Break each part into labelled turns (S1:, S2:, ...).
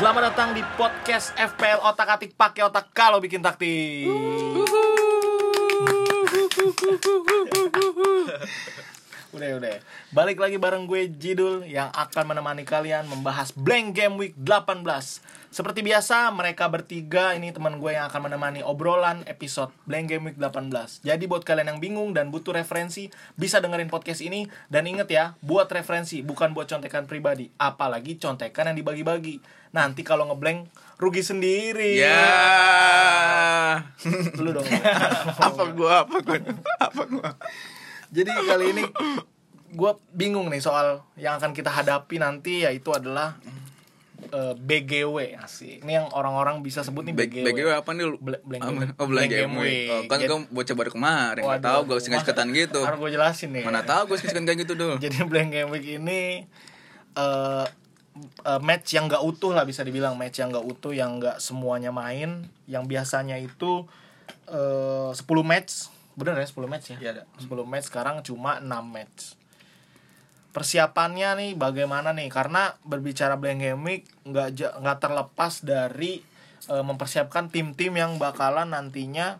S1: Selamat datang di podcast FPL Otak Atik pakai otak kalau bikin taktik. udah udah. Balik lagi bareng gue Jidul yang akan menemani kalian membahas Blank Game Week 18. Seperti biasa mereka bertiga ini teman gue yang akan menemani obrolan episode Blank Game Week 18. Jadi buat kalian yang bingung dan butuh referensi bisa dengerin podcast ini dan inget ya buat referensi bukan buat contekan pribadi apalagi contekan yang dibagi-bagi. Nanti kalau ngeblank rugi sendiri.
S2: Ya.
S1: Lu dong.
S2: apa gua apa gua Iya. apa gua.
S1: Jadi kali ini gue bingung nih soal yang akan kita hadapi nanti yaitu adalah eh, BGW asik. Ini yang orang-orang bisa sebut nih BGW.
S2: BGW apa nih lu?
S1: Bla- blank
S2: Ah,
S1: game-
S2: oh, blank
S1: blank
S2: game
S1: game
S2: week. Oh, kan
S1: week.
S2: gua bocah baru kemarin,
S1: Waduh.
S2: enggak tahu gua sengaja ketan gitu.
S1: Harus gue jelasin nih.
S2: Mana tahu gua sengaja kayak gitu dulu.
S1: Jadi Blank Game Week ini eh eh, match yang nggak utuh lah bisa dibilang match yang nggak utuh yang nggak semuanya main yang biasanya itu eh 10 match bener ya 10 match ya
S2: Iya, ada.
S1: 10 match sekarang cuma 6 match persiapannya nih bagaimana nih karena berbicara Blank Game Week nggak ja- nggak terlepas dari eh, mempersiapkan tim-tim yang bakalan nantinya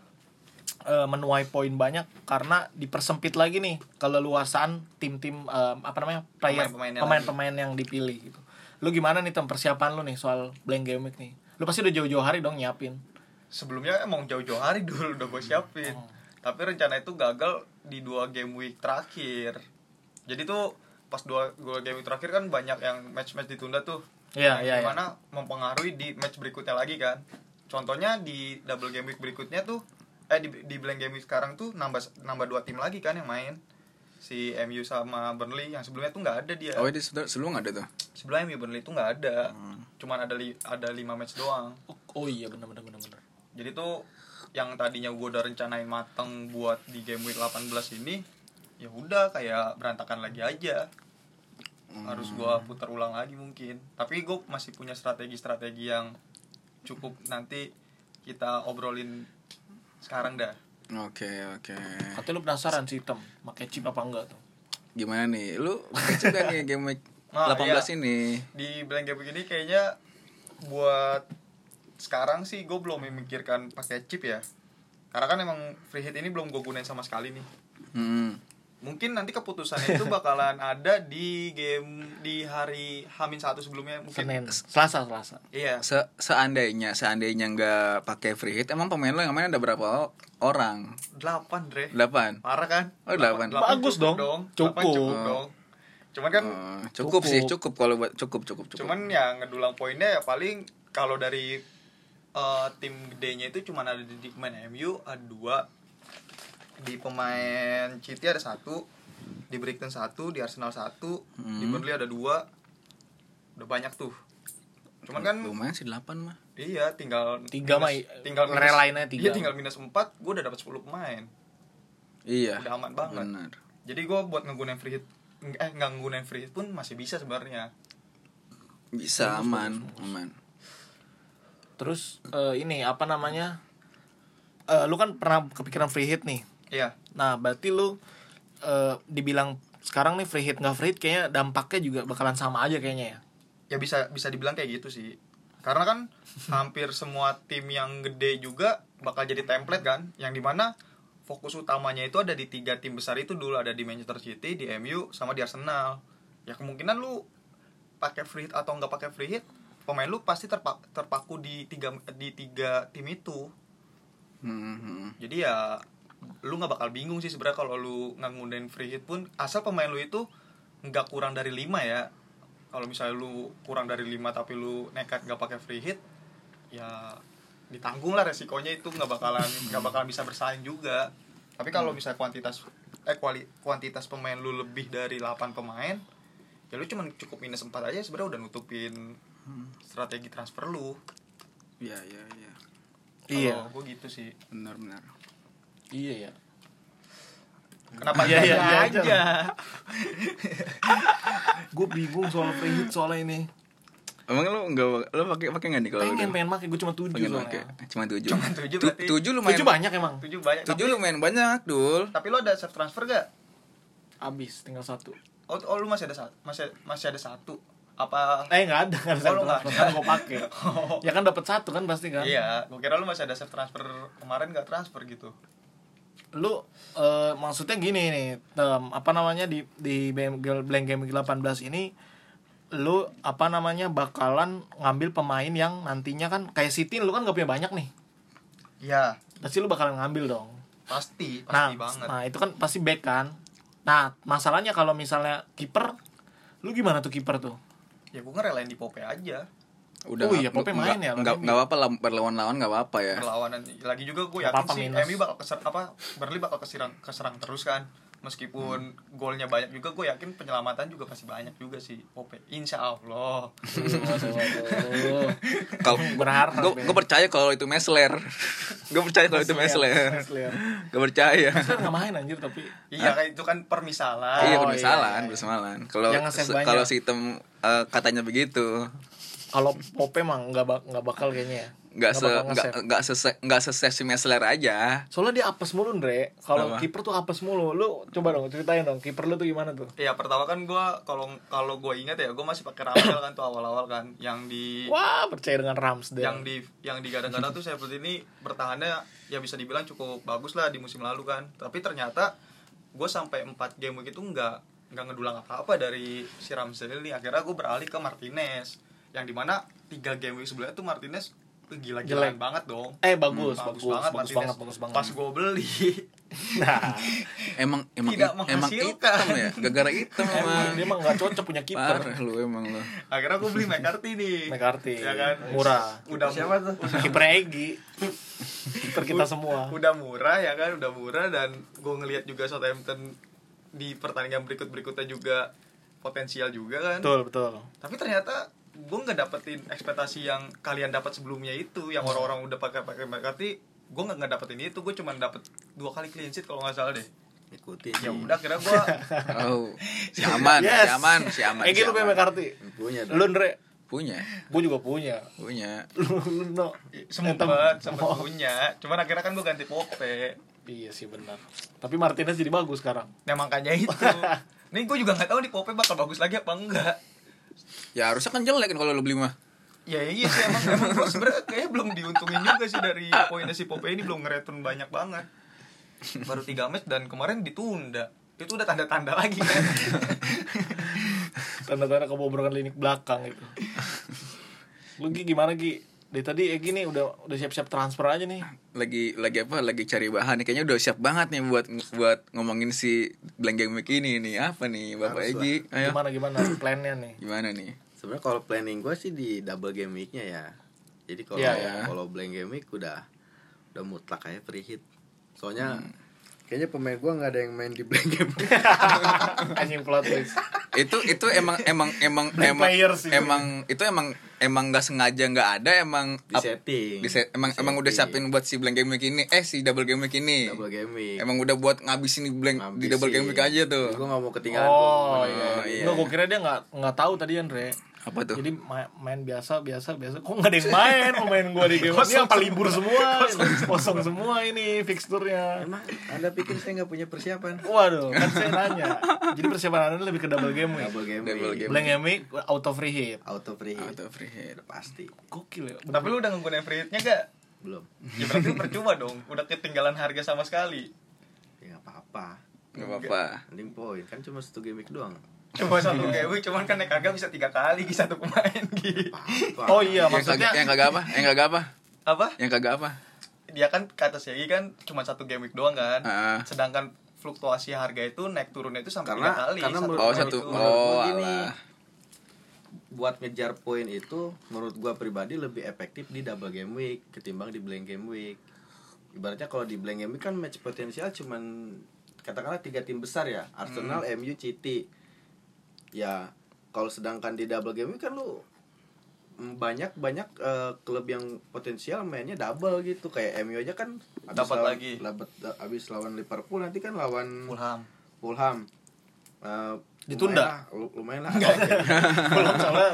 S1: eh, menuai poin banyak karena dipersempit lagi nih keleluasan tim-tim eh, apa namanya player
S3: Pemain-pemainnya
S1: pemain-pemain yang dipilih gitu. Lu gimana nih tem persiapan lu nih soal blank game week nih? Lu pasti udah jauh-jauh hari dong nyiapin.
S3: sebelumnya emang jauh-jauh hari dulu udah gue siapin
S1: Hmm.
S3: tapi rencana itu gagal di dua game week terakhir jadi tuh pas dua, dua game week terakhir kan banyak yang match-match ditunda tuh
S1: Iya,
S3: Yang
S1: iya, iya.
S3: dimana mempengaruhi di match berikutnya lagi kan contohnya di double game week berikutnya tuh eh di, di blank game week sekarang tuh nambah nambah dua tim lagi kan yang main si MU sama Burnley yang sebelumnya tuh nggak ada dia
S2: Oh, ini sebelum sebelum nggak ada tuh.
S3: sebelumnya MU Burnley tuh nggak ada cuman ada li- ada lima match doang
S1: Oh, oh iya benar benar benar benar.
S3: jadi tuh yang tadinya gue udah rencanain mateng buat di game week 18 ini ya udah kayak berantakan lagi aja harus gue putar ulang lagi mungkin tapi gue masih punya strategi-strategi yang cukup nanti kita obrolin sekarang dah
S2: Oke, oke.
S1: Katanya lu penasaran sih tem, pakai chip apa enggak tuh?
S2: Gimana nih? Lu juga nih game week
S3: Ah,
S2: 18
S3: iya.
S2: ini.
S3: di blank game week ini kayaknya buat sekarang sih gue belum memikirkan pakai chip ya karena kan emang free hit ini belum gue gunain sama sekali nih
S2: Hmm.
S3: mungkin nanti keputusannya itu bakalan ada di game di hari Hamin satu sebelumnya mungkin
S1: Senin, Selasa, Selasa.
S3: iya
S2: Se seandainya seandainya nggak pakai free hit, emang pemain lo yang main ada berapa orang?
S3: delapan Dre
S2: 8.
S3: parah kan
S2: Oh, delapan. Oh.
S1: Bagus dong.
S3: Delapan
S1: Cukup.
S3: cukup dong cuman kan
S1: Cukup.
S2: cukup, sih, cukup kalau buat cukup cukup cukup.
S3: cuman ya ngedulang poinnya ya paling kalau dari eh, tim gedenya itu cuman ada di pemain MU ada dua di pemain City ada satu di Brighton satu di Arsenal satu di
S2: Hmm.
S3: Burnley ada dua udah banyak tuh cuman kan
S2: lumayan sih 8 mah.
S3: Iya, tinggal
S1: Tiga mah,
S3: minus- tinggal minus-
S1: ngerelainnya tiga.
S3: Iya, tinggal minus 4, gue udah dapat 10 pemain.
S2: Iya.
S3: Udah aman banget.
S2: Benar.
S3: Jadi gue buat ngegunain free hit eh nggak ngegunain free hit pun masih bisa sebenarnya.
S2: Bisa aman, aman.
S1: Terus eh, ini apa namanya? Eh, lu kan pernah kepikiran free hit nih.
S3: Iya.
S1: Nah, berarti lu eh, dibilang sekarang nih free hit nggak free hit kayaknya dampaknya juga bakalan sama aja kayaknya ya.
S3: Ya bisa bisa dibilang kayak gitu sih. Karena kan hampir semua tim yang gede juga bakal jadi template kan, yang dimana fokus utamanya itu ada di tiga tim besar itu dulu ada di Manchester City, di MU, sama di Arsenal. Ya kemungkinan lu pakai free hit atau nggak pakai free hit, pemain lu pasti terpa- terpaku di tiga di tiga tim itu.
S2: Hmm, hmm.
S3: jadi ya lu nggak bakal bingung sih sebenarnya kalau lu nggak ngundang free hit pun asal pemain lu itu nggak kurang dari 5 ya kalau misalnya lu kurang dari 5 tapi lu nekat nggak pakai free hit ya ditanggung lah resikonya itu nggak bakalan nggak bakalan bisa bersaing juga tapi
S1: Hmm.
S3: kalau misalnya kuantitas eh kuali, kuantitas pemain lu lebih dari 8 pemain ya lu cuman cukup minus 4 aja sebenarnya udah nutupin
S1: Hmm.
S3: strategi transfer lu
S2: Iya, iya, iya.
S1: Iya.
S3: gue gitu sih
S2: Benar, benar.
S1: Iya ya.
S3: kenapa
S1: Iya, iya, iya aja.
S3: aja.
S1: Gue bingung soal free hit soalnya ini.
S2: Emang lu enggak lu pakai pakai enggak nih kalau
S1: Pengen
S2: udah?
S1: pengen pakai gue cuma tujuh
S2: pengen
S1: soalnya.
S2: pakai. Cuma 7.
S3: Cuma tujuh berarti.
S2: 7 lumayan.
S1: Tujuh banyak emang.
S3: tujuh banyak
S2: Tujuh lumayan banyak, Dul.
S3: tapi lo ada save transfer gak
S1: Abis tinggal satu.
S3: oh, oh, lu masih ada satu masih masih ada satu apa
S1: Eh nggak ada kan
S3: Oh, lu nggak ada.
S1: gue pakai. Ya kan dapat satu kan pasti kan.
S3: iya gue kira lu masih ada save transfer kemarin nggak transfer gitu
S1: Lu eh, maksudnya gini nih, tem, apa namanya di di BMG Blank Game Week 18 ini lu apa namanya bakalan ngambil pemain yang nantinya kan kayak City lu kan gak punya banyak nih.
S3: iya
S1: Pasti lu bakalan ngambil dong.
S3: pasti
S1: nah,
S3: pasti banget
S1: nah itu kan pasti back kan. Nah, masalahnya kalau misalnya kiper lu gimana tuh kiper tuh?
S3: ya gue ngerelain di Pope aja
S2: Udah
S1: Oh iya,
S2: nggak-
S1: Pope main ya
S2: nggak- nggak
S1: lawan
S2: nggak apa-apa lah berlawan-lawan nggak apa-apa ya
S3: perlawanan lagi juga gue
S1: Nggak
S3: yakin
S1: apa-apa,
S3: sih
S1: minus.
S3: MU bakal keser apa Burnley bakal keserang keserang terus kan
S1: Hmm.
S3: meskipun golnya banyak juga gue yakin penyelamatan juga pasti banyak juga sih Pope insya Allah
S2: kalau
S1: Berharap,
S2: gue
S1: ya.
S2: gue percaya kalau itu Mesler gue percaya kalau itu Mesler
S1: Mesler.
S2: gue percaya
S1: Mesler Kan nggak main anjir tapi
S3: iya kan itu kan permisalan
S2: iya
S1: Oh, iya, iya.
S2: bermasalah bermasalah kalau
S1: Yang nge-save
S2: se-
S1: banyak.
S2: kalau si item eh, katanya begitu
S1: kalau Pope emang nggak bak nggak bakal kayaknya ya.
S2: nggak se
S1: bakal
S2: nggak
S1: nge-save.
S2: nggak sese nggak sese si Mesler aja
S1: Soalnya dia apes mulu, Ndre. Kalau
S2: Kenapa?
S1: kiper tuh apes mulu. Lu coba dong ceritain dong kiper lu tuh gimana tuh?
S3: Iya pertama kan gue kalau kalau gue ingat ya gue masih pakai Ramel kan tuh awal-awal kan yang di
S1: Wah, percaya dengan Ramsdale.
S3: yang di yang digadang-gadang tuh seperti ini bertahannya ya bisa dibilang cukup bagus lah di musim lalu kan tapi ternyata gue sampai 4 game begitu nggak nggak ngedulang apa-apa dari si Ramsdale ini akhirnya gue beralih ke Martinez yang dimana tiga game week sebelumnya tuh Martinez wih, gila-gilaan
S1: Jelek.
S3: banget dong Hmm,
S1: Eh bagus,
S3: bagus,
S1: bagus,
S3: banget
S1: bagus,
S3: Martinez
S1: banget, bagus banget.
S3: pas gue beli
S1: Nah,
S2: emang emang
S3: Tidak
S2: emang
S3: menghasilkan.
S2: item ya gara-gara item
S1: emang
S2: emang
S1: dia emang nggak cocok punya kiper.
S2: parah lu emang lu
S3: akhirnya gue beli McCarthy nih
S1: McCarthy.
S3: ya kan
S1: Murah.
S3: udah
S4: Siapa tuh?
S1: Kiper Egi. Kiper kita semua.
S3: udah murah ya kan udah murah dan gue ngelihat juga Southampton di pertandingan berikut berikutnya juga potensial juga kan
S1: Betul, betul.
S3: tapi ternyata gue nggak dapetin ekspektasi yang kalian dapat sebelumnya itu yang orang-orang udah pakai pakai McCarthy gue nggak nggak dapetin itu gue cuma dapet dua kali clean sheet kalau nggak salah deh
S4: ikuti
S2: Iya.
S3: ya udah kira gue
S2: oh si aman si aman si aman
S1: Egi
S2: si
S1: lu punya
S2: aman. Iya,
S1: McCarthy.
S4: punya dong
S1: gitu, Lu, Ndre.
S2: punya
S1: Gue juga punya.
S2: punya
S1: Lu, lu, no.
S3: Iya, sempet sempet
S1: Oh.
S3: punya cuman akhirnya kan gue ganti Pope
S1: Iya sih benar. Tapi Martinez jadi bagus sekarang.
S3: nah makanya itu nih gue juga nggak tahu di Pope bakal bagus lagi apa enggak
S2: ya harusnya kan jelek kan kalau lu beli mah
S3: Ya iya sih emang emang gue sebenarnya kayaknya belum diuntungin juga sih dari poinnya si Pope ini belum ngeretun banyak banget. Baru tiga match dan kemarin ditunda. Itu udah tanda-tanda lagi kan.
S1: tanda-tanda kebobrokan linik belakang itu lu Gi, gimana Gi? Dari tadi Egi nih udah udah siap-siap transfer aja nih
S2: lagi lagi apa lagi cari bahan nih kayaknya udah siap banget nih buat buat ngomongin si Blanggeng Mic ini nih apa nih Bapak
S4: Harus
S2: Egi ayo
S1: gimana gimana plannya nih
S2: gimana nih
S4: sebenarnya kalau planning gue sih di double game weeknya ya jadi kalau
S1: Iya,
S2: ya.
S4: kalau blank game week udah udah mutlak aja free hit soalnya
S2: Hmm.
S4: kayaknya pemain gue nggak ada yang main di blank game week
S1: anjing plot twist
S2: itu itu emang emang emang
S1: Blank
S2: emang
S1: players itu.
S2: emang itu emang emang nggak sengaja nggak ada emang
S4: di
S2: ap-
S4: setting
S2: di set- emang
S4: Di
S2: emang udah
S4: setting.
S2: siapin buat si Blank Game Week ini eh si Double Game Week ini
S4: double game week
S2: emang udah buat ngabisin di Blank di Double Game Week aja
S4: gue
S2: tuh
S4: nggak mau ketinggalan
S1: oh,
S4: gua mau main.
S1: iya.
S2: iya.
S1: Nggak, gua kira dia nggak nggak tahu tadi Andre
S2: apa tuh
S1: jadi ma- main biasa biasa biasa kok nggak ada yang main pemain gua di game ini apa libur semua ini. kosong semua ini fixturnya
S4: emang anda pikir saya nggak punya persiapan
S1: waduh kan saya nanya jadi persiapan anda lebih ke double game week
S4: double game
S2: Double
S4: week
S2: game.
S1: blank game week auto free hit
S4: auto free hit
S2: atau free hit
S4: pasti
S1: gokil ya
S3: Tapi lu udah nggunain free hit-nya gak?
S4: belum
S3: Ya berarti lu percuma dong. Udah ketinggalan harga sama sekali.
S4: ya nggak apa-apa
S2: nggak apa-apa
S4: nanti poin kan cuma satu game week doang
S3: Cuma satu
S4: Iya.
S3: game, cuman kan naik harga bisa tiga kali di satu pemain gitu.
S4: apa
S1: oh iya
S2: yang kagak
S1: maksudnya
S2: yang kagak apa yang kagak apa
S3: Apa?
S2: yang kagak apa
S3: Dia kan kata si Egi kan cuma satu game week doang kan.
S2: Ah.
S3: Sedangkan fluktuasi harga itu naik turunnya itu sampai
S4: Karena-
S3: tiga kali.
S4: karena menurut-
S2: oh
S3: pemain
S2: satu
S3: itu.
S4: menurut
S2: oh
S4: gua gini. iya.
S2: alah
S4: buat ngejar poin itu menurut gua pribadi lebih efektif di double game week ketimbang di blank game week ibaratnya kalau di blank game week kan match potensial cuman katakanlah tiga tim besar ya Arsenal,
S3: Hmm.
S4: MU, City ya kalau sedangkan di double game week kan lu banyak banyak klub yang potensial mainnya double gitu kayak MU aja kan abis
S3: Dapat
S4: lawan-
S3: lagi.
S4: dapat abis lawan Liverpool nanti kan lawan
S3: Fulham.
S4: Fulham Eh,
S1: Ditunda?
S4: lumayan lah, lumayan lah.
S1: belum soalnya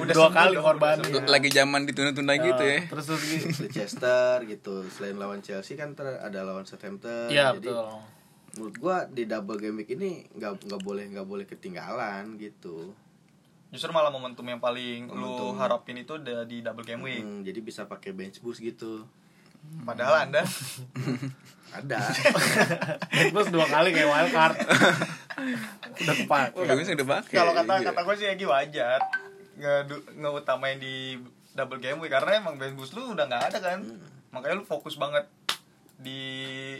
S3: Udah
S1: dua
S3: sembuh
S1: kali
S3: dong,
S1: korban
S3: udah
S1: Iya.
S2: lagi zaman ditunda-tunda gitu ya
S1: terus terus gitu
S4: Leicester gitu selain lawan Chelsea kan ter- ada lawan Southampton
S1: Iya
S4: jadi
S1: betul.
S4: menurut gua di double game week ini nggak nggak boleh nggak boleh ketinggalan gitu
S3: Justru malah momentum yang paling lu
S4: Momentum.
S3: harapin itu da- di double game week.
S4: Hmm, jadi bisa pakai bench boost gitu.
S3: Padahal Anda
S4: Ada.
S1: Terus dua kali kayak wild card. Udah kepake.
S2: Wah, bagus udah pakai.
S3: kalau kata
S2: Iya.
S3: kata gue sih Egi wajar ngedu- ngeutamain di double game week karena emang band boost lu udah nggak ada kan
S4: Hmm.
S3: makanya lu fokus banget di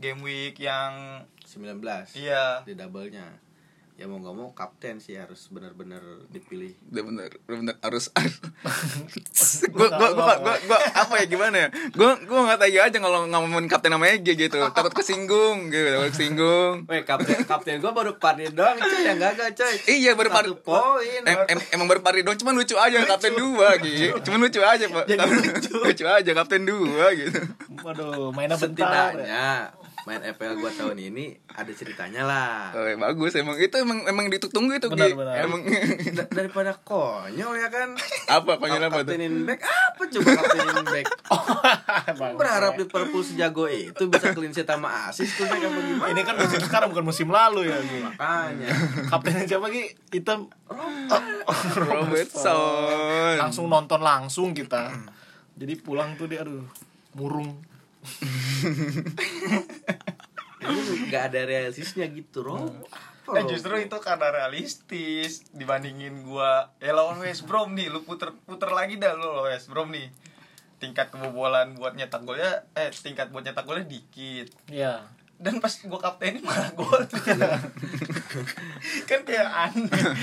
S3: game week yang
S4: 19.
S3: iya
S4: Di double-nya. Ya mau nggak mau kapten sih harus benar-benar dipilih.
S2: udah bener udah bener harus gue gue gue gue apa ya gimana ya gue gue nggak tanya aja kalau ngomongin kapten sama Ege gitu takut kesinggung gitu takut kesinggung
S4: Weh, kapten kapten gua baru parin doang, cuy, yang gagal, coy.
S2: iya baru
S4: Satu
S2: par-
S4: poin.
S2: em, em, emang baru pari doang cuman lucu aja kapten dua gitu cuman lucu aja pak lucu. aja kapten dua gitu
S1: Waduh, mainnya bentar. ya.
S4: Setidaknya main FPL gua tahun ini ada ceritanya lah.
S2: Oh, ya, bagus emang itu emang emang ditunggu itu
S1: Benar,
S2: Gi.
S1: benar.
S2: emang
S4: Da- daripada konyol ya kan.
S2: apa konyol apa tuh
S4: Kaptenin back apa coba kaptenin back?
S1: ya.
S4: Berharap Liverpool sejago itu bisa clean sheet sama asis tuh back apa gimana?
S1: Ini kan musim sekarang bukan musim lalu ya. Gi.
S4: Makanya
S1: Kaptennya siapa Ki? Hitam.
S2: Robertson
S1: Langsung nonton langsung kita.
S2: Hmm.
S1: Jadi pulang tuh dia aduh murung.
S4: ini nggak ada realisisnya gitu Rob.
S3: eh
S4: Apa, Rob?
S3: justru itu karena realistis dibandingin gua ya lawan West Brom nih lu puter puter lagi dah lu lawan West Brom nih tingkat kebobolan buat nyetak golnya eh tingkat buat nyetak golnya dikit
S1: Iya.
S3: dan pas gue kaptenin malah gol kan kayak aneh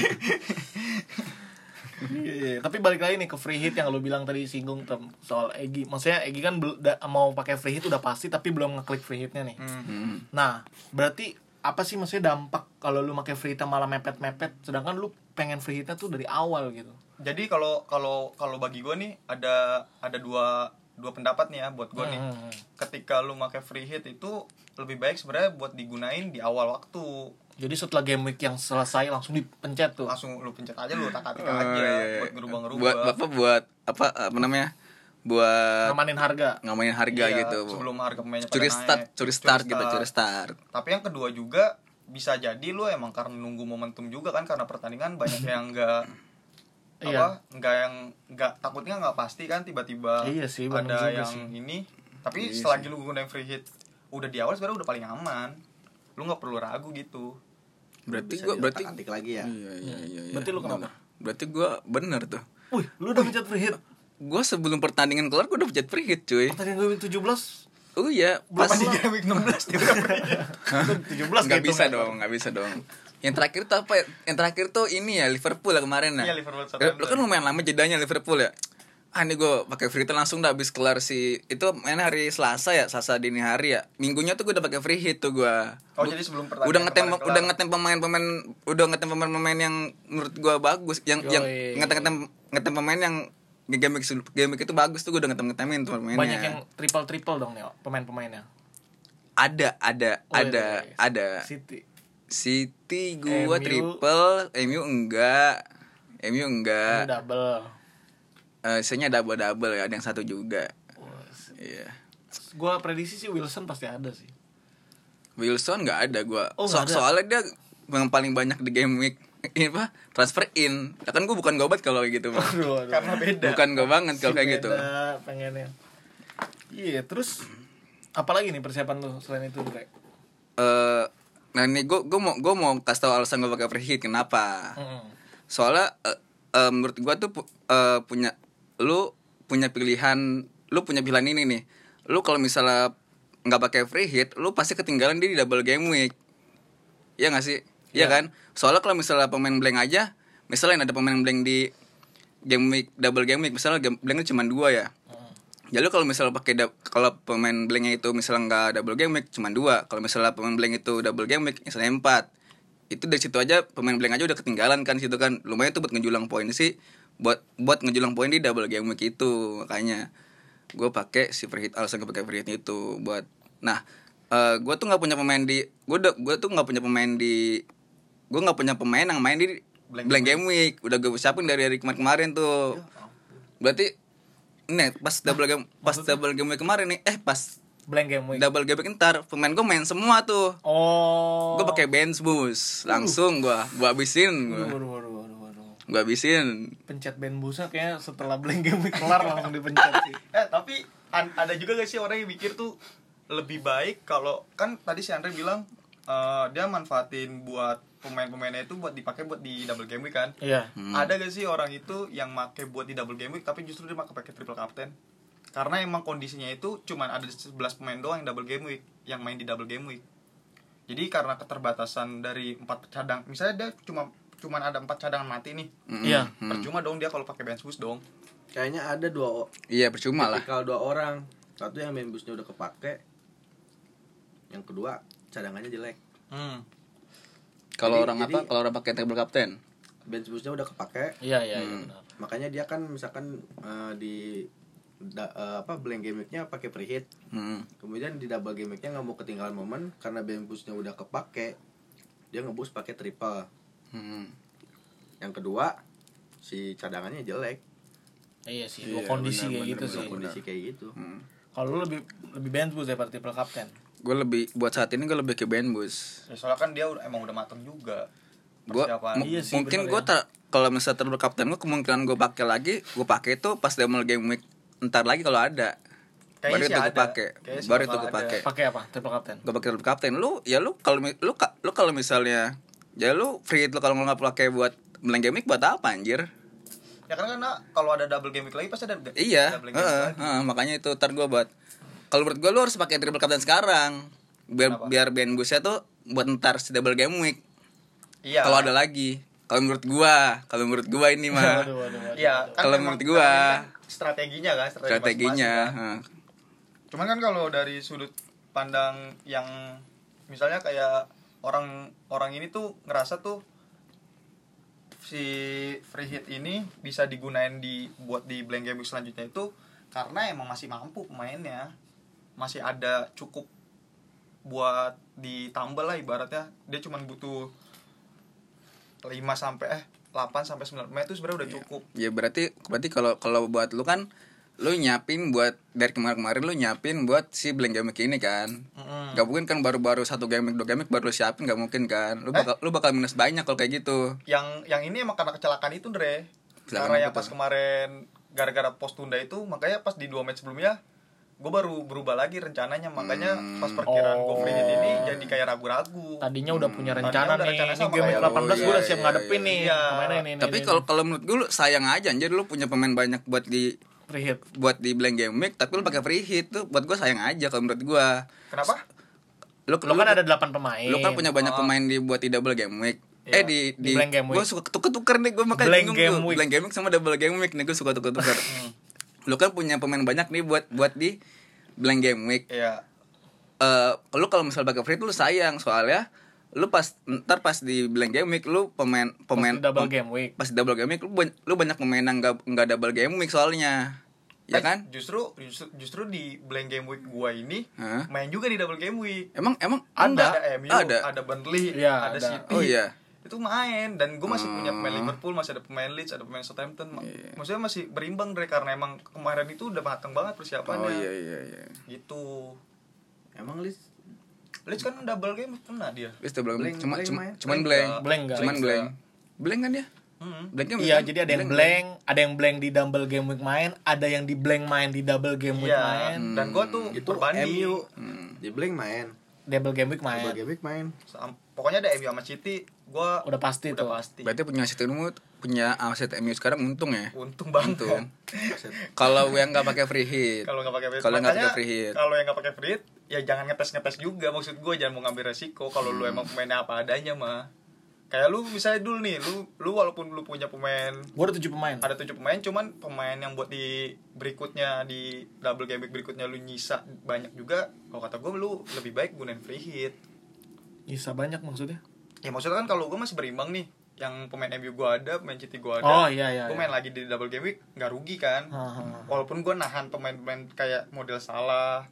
S1: Iya, Tapi balik lagi nih ke free hit yang lu bilang tadi singgung tem soal Egi. Maksudnya Egi kan bel- da- mau pakai free hit udah pasti tapi belum ngeklik free hitnya nih.
S3: Hmm.
S1: Nah, berarti apa sih maksudnya dampak kalau lu pakai free hitnya malah mepet-mepet sedangkan lu pengen free hitnya tuh dari awal gitu.
S3: jadi kalau kalau kalau bagi gue nih ada ada dua dua pendapat nih ya buat gue nih
S1: Hmm.
S3: ketika lu pakai free hit itu lebih baik sebenarnya buat digunain di awal waktu
S1: Jadi setelah game week yang selesai langsung dipencet tuh.
S3: langsung lu pencet aja lu tak atik
S2: Oh, iya,
S3: aja
S2: iya.
S3: buat ngerubah-ngerubah
S2: buat bapak buat apa apa namanya buat
S1: Ngamanin harga.
S2: ngamain harga
S3: Iya,
S2: gitu
S3: sebelum harga pemainnya pada
S2: curi
S3: naik.
S2: start curi start gitu curi start
S3: tapi yang kedua juga bisa jadi lu emang karena nunggu momentum juga kan karena pertandingan banyak yang enggak
S1: Iya.
S3: apa nggak yang nggak takutnya nggak pasti kan tiba-tiba
S1: Iya sih, bener
S3: ada
S1: juga
S3: yang
S1: sih. Iya
S3: ini tapi selagi lu gunain free hit udah di awal sebenarnya udah paling aman lu nggak perlu ragu gitu
S2: berarti
S4: Bisa
S2: gua berarti
S4: diutak-atik lagi ya.
S2: iya iya iya iya.
S1: Berarti lu kenapa?
S2: berarti gua bener tuh
S1: Wih, lu udah pencet free hit.
S2: gua sebelum pertandingan kelar gua udah pencet free hit cuy
S1: Pertandingan gue week 17
S2: oh iya pas
S3: pas di game week 16 dia udah free hit.
S1: 17
S2: nggak
S1: gitu,
S2: bisa
S1: men.
S2: dong nggak bisa dong yang terakhir tuh apa ya? yang terakhir tuh ini ya Liverpool lah kemarin nah
S3: Iya, Liverpool
S2: Ya, lu kan
S3: Southampton.
S2: lumayan lama jedanya Liverpool ya ah ini gue pakai free hit langsung udah habis kelar si itu mainnya hari Selasa ya Selasa dini hari ya minggunya tuh gue udah pakai free hit tuh gue
S3: oh jadi sebelum pertandingan
S2: udah ngetem
S3: kemarin kelar.
S2: udah ngetem pemain-pemain udah ngetem pemain-pemain yang menurut gua bagus yang yang
S1: Yoi.
S2: ngetem ngetem ngetem pemain yang game game itu bagus tuh gua udah ngetem ngetemin tuh pemainnya
S1: Banyak yang triple-triple dong nih pemain-pemainnya.
S2: ada ada
S1: Oh,
S2: ada
S1: iya, iya.
S2: ada
S1: City.
S2: City
S1: MU.
S2: gua triple MU enggak MU enggak
S1: double.
S2: Eh isinya double double ya ada yang satu juga iya
S1: Gua prediksi sih Wilson pasti ada sih.
S2: Wilson nggak ada gua
S1: Oh,
S2: So-
S1: nggak ada.
S2: soalnya dia yang paling banyak di game week ini apa transfer in Ya kan gua bukan gobat kalau kayak gitu Bang.
S3: karena beda
S2: bukan gue banget kalau kayak gitu
S1: Beda pengennya. Iya, terus apalagi nih persiapan lu selain itu, Bre?
S2: eh nah ini gue gue mau gue mau kasih tau alasan gue pakai free hit kenapa
S1: Mm-mm.
S2: soalnya eh, eh, menurut gue tuh pu- eh, punya lu punya pilihan lu punya pilihan ini nih lu kalau misalnya nggak pakai free hit lu pasti ketinggalan di double game week ya nggak sih Iya kan soalnya kalau misalnya pemain blank aja misalnya ada pemain blank di game week double game week misalnya game blanknya cuma dua ya Ya lu kalau misalnya pakai dab- kalau pemain blanknya itu misalnya nggak double game week cuma dua, kalau misalnya pemain blank itu double game week misalnya empat, itu dari situ aja pemain blank aja udah ketinggalan kan situ kan lumayan tuh buat ngejulang poin sih buat buat ngejulang poin di double game week itu makanya gue pakai si free hit alasan gue pakai free hit itu buat nah eh gue tuh nggak punya pemain di gue gue tuh nggak punya pemain di gue nggak punya pemain yang main di
S3: Blank
S2: blank, game Ya week udah gue siapin dari hari kemarin kemarin tuh berarti nih pas double game pas double game week kemarin nih eh pas
S1: Blank game week.
S2: double game week ntar pemain gue main semua tuh
S1: Oh.
S2: gue pakai bench boost langsung gue gue habisin gue
S1: Uh. Waduh, waduh, waduh, waduh,
S2: Gue habisin.
S1: Pencet ban busnya kayaknya setelah blank game week kelar langsung dipencet sih.
S3: Eh tapi an- ada juga gak sih orang yang mikir tuh lebih baik kalau kan tadi si Andre bilang eh, dia manfaatin buat pemain-pemainnya itu buat dipakai buat di double game week kan.
S1: Iya.
S3: Ada gak sih orang itu yang make buat di double game week tapi justru dia make pakai triple captain? Karena emang kondisinya itu cuman ada 11 pemain doang yang double game week, yang main di double game week. Jadi karena keterbatasan dari empat cadang, misalnya dia cuma cuman ada empat cadangan mati nih.
S2: Mm-mm.
S1: Iya.
S2: Mm.
S3: Percuma dong dia kalau pakai bench boost dong.
S4: Kayaknya ada dua
S2: Iya percuma lah.
S4: kalau dua orang. Satu yang main busnya udah kepake. Yang kedua cadangannya jelek.
S1: Mm.
S3: Hmm.
S2: Kalau
S4: Jadi-
S2: orang
S4: jadi-
S2: apa? Kalau orang pakai table captain.
S4: Bench busnya udah kepake.
S1: Iya iya iya,
S2: Hmm.
S1: benar.
S4: Makanya dia kan misalkan eh, di da- eh, apa blank game week-nya pakai preheat.
S2: Mm.
S4: Kemudian di double game week-nya nggak mau ketinggalan momen karena bench busnya udah kepake. Dia ngebus pakai triple.
S2: Mm.
S4: Yang kedua si cadangannya jelek.
S1: Iya sih, dua
S2: Iya,
S1: kondisi
S2: benar,
S1: kayak
S2: benar,
S1: gitu
S2: benar,
S1: sih.
S4: Kondisi kayak gitu.
S2: hmm.
S1: Kalau lu lebih lebih bench boost daripada triple captain.
S2: Gue lebih buat saat ini gue lebih ke band bus.
S3: Ya, soalnya kan dia udah- emang udah mateng juga.
S2: Gue
S3: Persiapan.
S1: Iya sih,
S2: mungkin
S1: benar
S2: gue
S1: ya.
S2: tak kalau misalnya table captain gue kemungkinan gue pakai lagi gue pakai itu pas double game week ntar lagi kalau ada
S3: Kayaknya
S2: baru
S3: sih
S2: itu gue
S3: ada.
S2: pakai
S3: Kayaknya sih
S2: baru itu
S3: bakal
S2: gue
S3: ada.
S2: pakai
S1: Pakai apa? Triple captain.
S2: gak pakai double captain lu ya lu kalau mi- lu ka- lu kalau misalnya ya lu free hit lu kalau nggak pakai buat main game week buat apa anjir
S3: Ya karena, karena kalau ada double game week lagi pasti ada
S2: iya
S3: double game week
S2: heeh,
S3: lagi.
S2: heeh, makanya itu ntar gue buat kalau menurut gue lu harus pakai triple captain sekarang biar
S3: Kenapa?
S2: biar band busnya tuh buat ntar si double game week
S3: Iya.
S2: kalau ada lagi kalau menurut gua kalau menurut gua ini mah
S1: Waduh, waduh, waduh.
S3: Iya, kan
S2: Kalau
S3: memang
S2: menurut gua.
S3: kan strateginya kan, strategi
S2: strateginya
S3: masing-masing kan.
S2: heeh.
S3: Cuman kan kalau dari sudut pandang yang misalnya kayak orang orang ini tuh ngerasa tuh si free hit ini bisa digunain di buat di blank game week selanjutnya itu karena emang masih mampu pemainnya masih ada cukup buat ditambal lah ibaratnya dia cuman butuh 5 sampai eh 8 sampai 9 pemain itu sebenarnya udah cukup
S2: ya berarti berarti kalau kalau buat lu kan lu nyiapin buat dari kemarin-kemarin lu nyiapin buat si blank game week ini kan
S3: Mm-mm.
S2: Gak mungkin kan baru-baru satu game week, dua game week baru lu siapin gak mungkin kan lu bakal lu bakal minus banyak kalau kayak gitu
S3: yang yang ini emang karena kecelakaan itu Dre
S2: Kecelakaan
S3: karena
S2: apa
S3: yang pas
S2: tuh?
S3: kemarin gara-gara pos tunda itu makanya pas di dua match sebelumnya gue baru berubah lagi rencananya makanya
S2: Hmm.
S3: pas perkiraan gue free hit
S2: Oh.
S3: ini jadi kayak ragu-ragu
S1: Tadinya udah punya
S3: Tadinya
S1: rencana
S3: udah
S1: nih.
S3: rencana
S1: Ini
S3: sama
S1: game
S3: kayak
S2: Mm. lu.
S1: 18 gue
S2: Iya,
S1: udah siap
S2: iya,
S1: ngadepin
S2: iya.
S1: nih.
S3: Iya.
S1: Kemana ini? ini,
S2: tapi
S1: ini.
S2: kalau kalau menurut gue lu sayang aja anjir lu punya pemain banyak buat di
S1: free hit.
S2: buat di blank game week tapi lu pakai free hit tuh buat gue sayang aja kalau menurut gue
S3: kenapa
S2: lu,
S1: Lu kan ada 8 pemain.
S2: lu kan punya banyak pemain di buat di double game week eh
S1: Oh. Iya. Di
S2: di di,
S1: blank game week.
S2: gue suka ketuker tuker nih gue makanya
S1: Blank
S2: bingung
S1: game
S2: tuh.
S1: week. Hmm.
S2: blank game week sama double game week nih gue suka tuker tuker lu kan punya pemain banyak nih buat buat di blank game week
S3: ya
S2: Eh lu kalau misalnya pakai free tuh lu sayang soalnya lu pas ntar pas di blank game week lu pemain pemain
S1: Main double game week.
S2: pas di double game week lu, ban- lu banyak pemain yang nggak nggak double game week soalnya ya kan
S3: justru justru, justru di blank game week gue ini
S2: Hah?
S3: main juga di double game week
S2: emang emang enggak?
S3: ada MU
S2: ada
S3: ada Burnley
S1: Iya,
S3: ada,
S1: ada.
S3: City
S2: oh iya Hmm.
S3: itu main dan gue masih punya pemain Liverpool masih ada pemain Leeds ada pemain Southampton Ma-
S2: Iya.
S3: maksudnya masih berimbang Dre karena emang kemarin itu udah matang banget persiapannya
S2: oh iya iya iya
S3: gitu
S4: Emang Lis
S3: Leeds kan double game kena dia
S2: Wis double game
S4: Blank-
S2: cuma
S4: blank
S2: cuma
S4: main.
S2: cuman blank
S1: Blank nggak?
S2: cuman
S3: Blank
S2: blank blank kan dia
S3: Mm-mm.
S2: blank game
S1: Iya,
S2: kan?
S1: jadi ada yang
S2: kan?
S1: blank, ada yang blank di double game week main, ada yang di blank main di double game week
S3: Iya,
S1: main,
S2: Hmm.
S3: dan gue tuh
S4: itu
S3: berbanding
S4: MU di blank main,
S1: double game week Hmm. main.
S4: sebagai week main.
S3: Sam- pokoknya ada MU sama City gue
S1: Udah pasti
S3: udah
S1: tuh.
S3: pasti
S2: berarti punya aset MU punya aset MU sekarang untung ya
S3: untung banget
S2: untung kalau yang nggak pakai free hit
S3: kalau nggak pakai free hit.
S2: Kalau nggak
S3: Makanya,
S2: pakai free hit.
S3: kalau yang nggak pakai free hit, ya jangan ngetes ngetes juga maksud gue jangan mau ngambil resiko kalau
S2: Hmm.
S3: lu emang pemainnya apa adanya mah kayak lu misalnya dulu nih lu lu walaupun lu punya pemain
S1: Gue ada 7 pemain.
S3: ada tujuh pemain cuman pemain yang buat di berikutnya di double game week berikutnya lu nyisa banyak juga kalau kata gue lu lebih baik gunain free hit
S1: Bisa banyak maksudnya.
S3: ya maksudnya kan kalau gue masih berimbang nih yang pemain MU gue ada pemain City gue ada
S1: Oh, iya, iya,
S3: gue
S1: iya.
S3: main lagi di double game week nggak rugi kan
S1: Ha, ha, ha.
S3: walaupun gue nahan pemain-pemain kayak model salah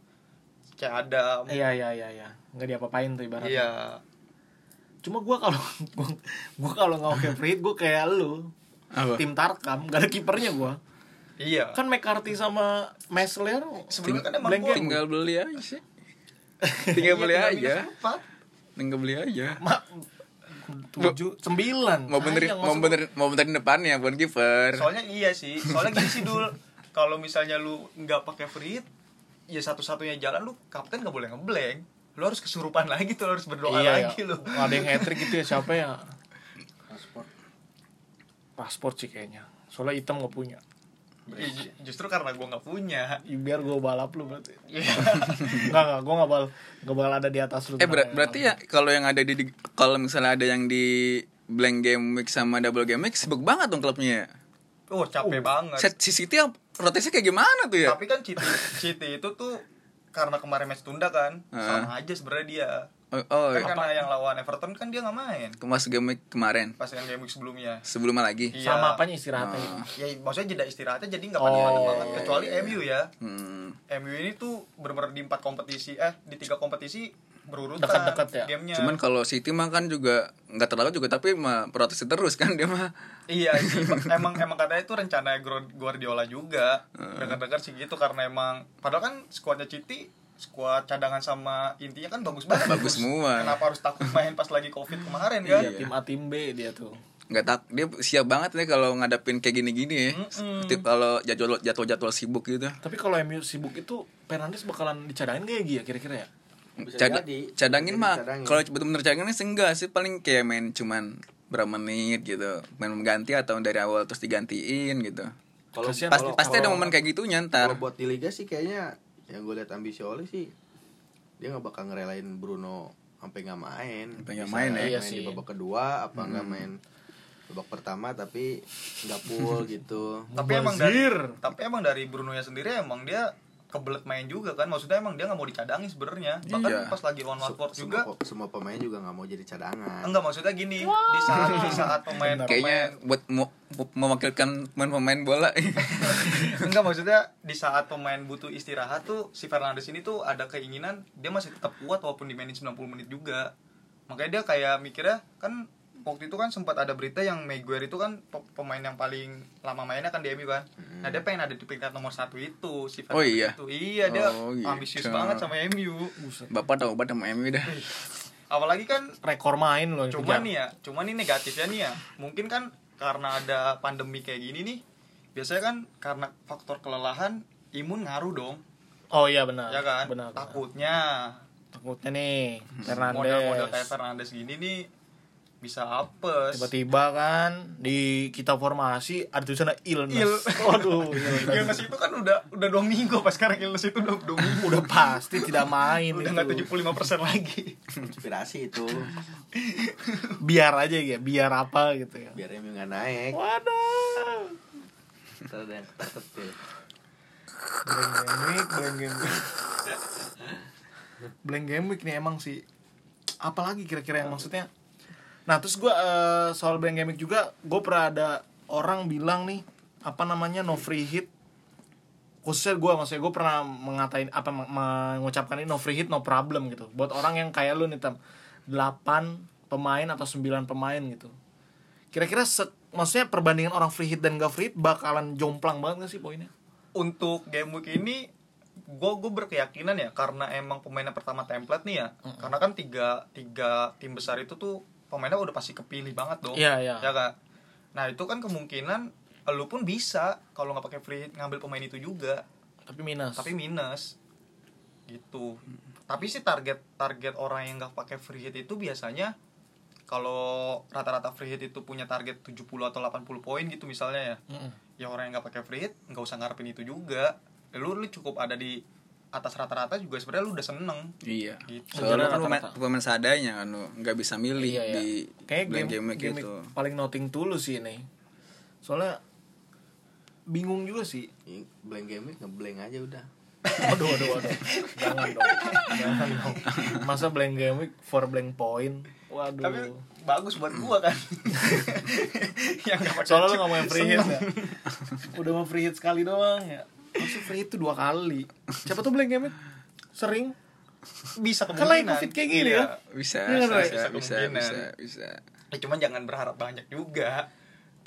S3: kayak ada
S1: Iya, iya, iya, iya. Enggak diapa-apain tuh ibaratnya.
S3: iya
S1: Cuma gue kalau gue kalau nggak oke free gue kayak lu.
S2: Apa?
S1: Tim Tarkam, gak ada kipernya gue.
S3: iya
S1: Kan McCarthy sama Mesler
S3: sebelumnya kan emang
S1: blank
S3: gua-
S1: game.
S2: tinggal beli aja
S3: Iya,
S2: tinggal beli
S3: tinggal minus
S2: aja
S3: empat.
S2: tinggal beli aja
S1: Ma- tujuh sembilan
S2: mau benerin
S1: Sayang,
S2: mau
S1: maksud-
S2: benerin mau benerin depannya bukan kiper
S3: Soalnya iya sih. Soalnya gini sih dul. Kalau misalnya lu nggak pakai free hit, ya satu-satunya jalan lu kapten nggak boleh ngeblank. Lu harus kesurupan lagi tuh, lu harus berdoa
S1: iya,
S3: lagi
S1: ya.
S3: lu.
S1: ada yang hat-trick gitu ya siapa ya
S4: Paspor.
S1: paspor sih kayaknya soalnya hitam nggak punya
S3: Ya, ju- justru karena gua nggak punya.
S1: Ih, Ya, biar gue balap lu berarti Iya. nggak nggak gue nggak bal nggak bakal ada di atas lu
S2: eh ber-
S1: tenang
S2: berarti ya kalau yang ada di, di- kalau misalnya ada yang di blank game week sama double game week sibuk banget dong klubnya ya
S3: Oh, capek banget.
S2: set si City yang rotasinya kayak gimana tuh ya
S3: Tapi kan Citi, Citi itu tuh karena kemarin match tunda kan, sama aja sebenarnya dia.
S2: oh, oh
S3: Kan karena yang lawan Everton kan dia nggak main
S2: kemas game week kemarin
S3: pas yang game week sebelumnya.
S2: sebelumnya lagi
S3: Iya.
S1: sama apanya istirahatnya gitu.
S3: Ya maksudnya jeda istirahatnya jadi nggak panjang
S1: Oh.
S3: banget kecuali MU ya.
S2: hmm.
S3: MU ini tuh bener-bener di empat kompetisi eh di tiga kompetisi berurutan
S1: Dekat-dekat ya?
S3: gamenya.
S2: cuman kalau City mah kan juga nggak terlalu juga tapi mah protes terus kan dia mah
S3: iya sih, emang emang katanya itu rencana Gro- Guardiola juga. Dengar-dengar sih gitu karena emang padahal kan skuadnya Citi skuad cadangan sama intinya kan bagus banget.
S2: Bagus semua. Iya.
S3: Kenapa harus takut main pas lagi Covid kemarin kan?
S1: tim A tim B dia tuh
S2: nggak tak dia siap banget nih kalau ngadapin kayak gini-gini ya Seperti kalau jadwal jadwal jadwal sibuk gitu
S1: tapi kalau MU sibuk itu Fernandes bakalan dicadangin gak ya Gia, kira-kira ya
S4: Bisa
S2: Cada-
S4: jadi.
S2: cadangin
S4: Bisa
S2: mah
S4: dicadangin.
S2: kalau bener-bener cadangin sih enggak sih paling kayak main cuman berapa menit gitu main mengganti atau dari awal terus digantiin gitu
S4: Kalau
S1: Kasihan
S2: pasti
S1: Iya, kalau-
S2: pasti ada
S1: kalau-
S2: momen kayak gitu nyantar
S4: kalau buat di liga sih kayaknya yang gue lihat ambisi Oli sih dia nggak bakal ngerelain Bruno sampai nggak main.
S2: Sampai nggak
S4: Bisa
S2: main ya.
S1: Iya
S4: di
S1: sih. Hmm.
S4: babak kedua apa nggak main babak pertama tapi nggak full gitu.
S3: tapi emang dari
S1: Mubazir.
S3: tapi emang dari Bruno nya sendiri emang dia kebelet main juga kan maksudnya emang dia nggak mau dicadangin sebenarnya bahkan
S2: Iya.
S3: pas lagi on
S4: Se-
S3: Watford
S4: semua,
S3: juga
S4: pe- semua pemain juga nggak mau jadi cadangan.
S3: enggak maksudnya gini di saat di saat pemain
S2: kayaknya buat mo- mo- mewakilkan pemain-pemain bola
S3: pemain- enggak maksudnya di saat pemain butuh istirahat tuh si Fernandes ini tuh ada keinginan dia masih tetap kuat walaupun dimainin 90 menit juga makanya dia kayak mikirnya kan waktu itu kan sempat ada berita yang Maguire itu kan pe- pemain yang paling lama mainnya kan di MU kan nah dia pengen ada di peringkat nomor satu itu si
S2: Hmm. Oh,
S3: Fernandes
S2: iya?
S3: itu iya dia
S2: Oh, gitu.
S3: ambisius banget sama MU
S2: bapak tahu banget sama MU dah
S3: apalagi kan
S1: rekor main loh yang
S3: cuman
S1: kejar.
S3: nih ya cuman ini negatifnya nih ya mungkin kan karena ada pandemi kayak gini nih biasanya kan karena faktor kelelahan imun ngaruh dong
S1: oh iya benar
S3: ya kan
S1: benar benar.
S3: takutnya
S1: takutnya nih Fernandes
S3: model-model kayak Fernandes gini nih bisa apes
S1: tiba-tiba kan di kita formasi ada tulisannya illness
S3: Il.
S1: waduh
S3: illness itu kan udah udah dua minggu pas sekarang illness itu udah dua minggu
S1: udah pasti tidak main
S3: udah
S1: itu.
S3: nggak 75% lagi
S4: Inspirasi itu
S1: biar aja ya biar apa gitu ya
S4: biar MU nggak naik.
S1: waduh
S4: Ntar ada yang ketakut ya.
S1: Blank game week, blank game week. blank game week nih emang sih. Apalagi kira-kira yang maksudnya. Nah terus gue soal blank game week juga, gue pernah ada orang bilang nih apa namanya no free hit. Khususnya gue maksudnya gue pernah mengatain apa meng- mengucapkan ini no free hit no problem gitu. Buat orang yang kayak lu nih tem 8 pemain atau 9 pemain gitu. Kira-kira se- maksudnya perbandingan orang free hit dan gak free hit bakalan jomplang banget gak sih poinnya?
S3: untuk game week ini gue gue berkeyakinan ya karena emang pemainnya pertama template nih ya karena kan tiga tiga tim besar itu tuh pemainnya udah pasti kepilih banget dong
S1: Iya, iya.
S3: ya kan nah itu kan kemungkinan lu pun bisa kalau nggak pakai free hit ngambil pemain itu juga
S1: Tapi minus.
S3: tapi minus gitu tapi sih target target orang yang nggak pakai free hit itu biasanya kalau rata-rata free hit itu punya target 70 atau 80 poin gitu misalnya ya
S1: Mm-mm.
S3: ya orang yang nggak pakai free hit nggak usah ngarepin itu juga lu lu cukup ada di atas rata-rata juga sebenarnya lu udah seneng
S2: iya
S3: Gitu.
S2: soalnya kan
S1: Rata-rata.
S2: pemain, pemain seadanya kan lu nggak bisa milih
S1: Iya, iya.
S2: di
S1: Kayaknya
S2: blank
S1: game,
S2: game week
S1: game
S2: gitu
S1: paling noting tulus sih ini. Soalnya bingung juga sih.
S4: Ini Blank game week, ngeblank aja udah.
S1: Aduh, aduh, aduh. Jangan dong. Jangan dong. Masa blank game week for blank point. Waduh.
S3: tapi bagus buat gua kan yang nggak pakai
S1: Soalnya lu
S3: chip,
S1: gak mau yang free hit
S3: seneng.
S1: ya. Udah mau free hit sekali doang ya. Maksud free hit tuh dua kali. Siapa tuh blank game week? Sering.
S3: bisa
S1: Kan lagi
S3: kemungkinan
S1: covid kayak gini
S3: Iya.
S1: ya.
S2: bisa
S1: Iya kan,
S2: bisa
S1: Roy?
S2: bisa
S3: Bisa
S2: bisa,
S3: kemungkinan.
S2: bisa, bisa.
S3: Ya, cuman jangan berharap banyak juga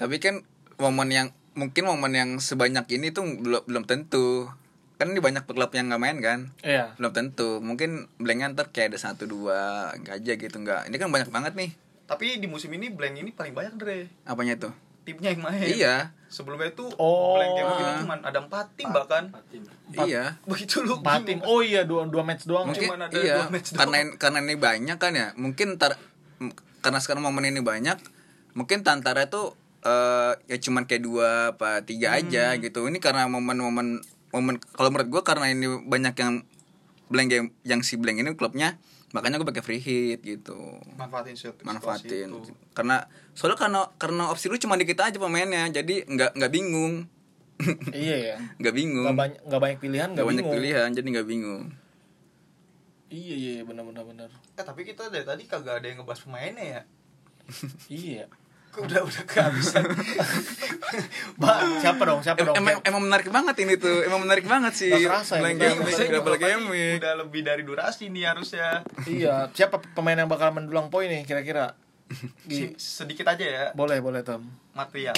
S2: Tapi kan momen yang mungkin momen yang sebanyak ini tuh belum belum tentu. Kan ini banyak klub yang nggak main kan?
S1: Iya.
S2: Belum tentu. Mungkin blanknya ntar kayak ada satu dua nggak aja gitu nggak. Ini kan banyak banget nih.
S3: Tapi di musim ini blank ini paling banyak Dre.
S2: Apanya itu?
S3: Timnya yang main.
S2: Iya,
S3: Sebelumnya itu
S1: Oh.
S3: blank game itu cuma ada 4 tim bahkan.
S2: iya.
S3: Begitu lu
S1: Empat tim.
S3: bingung.
S1: Oh iya dua dua match doang.
S2: Mungkin
S3: cuman ada
S2: iya,
S3: dua match doang.
S2: karena karena ini banyak kan ya. Mungkin tar, m- karena sekarang momen ini banyak, mungkin Tantara itu eh, ya cuman kayak dua apa tiga
S3: Hmm.
S2: aja gitu. Ini karena momen-momen momen kalau menurut gua karena ini banyak yang blank game yang si blank ini klubnya makanya gue pakai free hit gitu
S3: Manfaatin situ- situasi
S2: manfaatin
S3: itu.
S2: karena soalnya karena karena opsi lu cuma dikit aja pemainnya jadi nggak nggak bingung
S1: Iya ya.
S2: nggak bingung
S1: Gak banyak gak banyak pilihan
S2: Hmm. nggak
S1: gak
S2: banyak
S1: bingung.
S2: pilihan jadi nggak bingung
S1: Iya iya iya, benar benar benar.
S3: Eh tapi kita dari tadi kagak ada yang ngebahas pemainnya ya.
S1: Iya.
S3: Kok udah udah kehabisan.
S1: Ba, siapa dong? Siapa
S2: Em-
S1: dong?
S2: emang emang menarik banget ini tuh emang menarik banget sih
S1: Nggak kerasa ya,
S2: Blank
S1: nggak
S2: game
S1: kerasa.
S2: week, double game week.
S3: kan udah lebih dari durasi nih harusnya.
S1: iya, siapa pemain yang bakal mendulang poin nih kira-kira? Di-
S3: Si- sedikit aja ya
S1: boleh, boleh, Tom.
S3: material.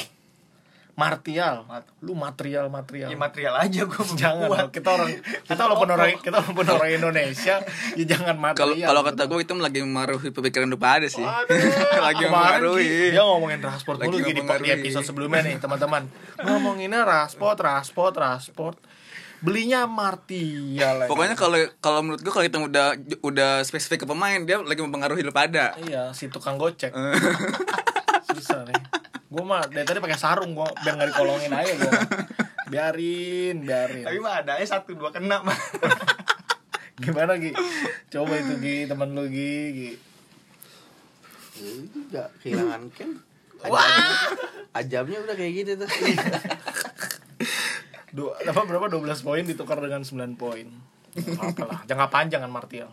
S1: Martial.
S3: Mat-
S1: Lu material material.
S3: Ya
S2: Iya,
S3: material aja gue
S1: jangan dong, kita orang kita walaupun orang kita walaupun orang Indonesia ya jangan
S2: kalau
S1: material.
S2: kalau kata gue itu lagi memengaruhi pemikiran udah pada sih lagi
S1: Kemarin Ki,
S2: memengaruhi
S1: dia ngomongin rasport
S2: Lagi
S1: mulu gini di
S2: mempengaruhi.
S1: episode sebelumnya nih teman-teman ngomonginnya rasport rasport rasport belinya martial lagi.
S2: pokoknya kalau kalau menurut gue kalau kita udah udah spesifik ke pemain dia lagi mempengaruhi lu pada
S1: Iya, si tukang gocek. Susah nih. Gue mah dari tadi pakai sarung gua biar nggak dikolongin aja gua. Biarin, biarin.
S3: Tapi mah ada eh satu dua kena mah.
S1: Gimana Gi? Coba itu Gi, teman lu Gi. Gi.
S4: Ya, itu juga kehilangan Ken. Ajamnya udah kayak gitu tuh.
S1: Dua, apa berapa 12 poin ditukar dengan 9 poin. Apalah, jangka panjang kan Martial.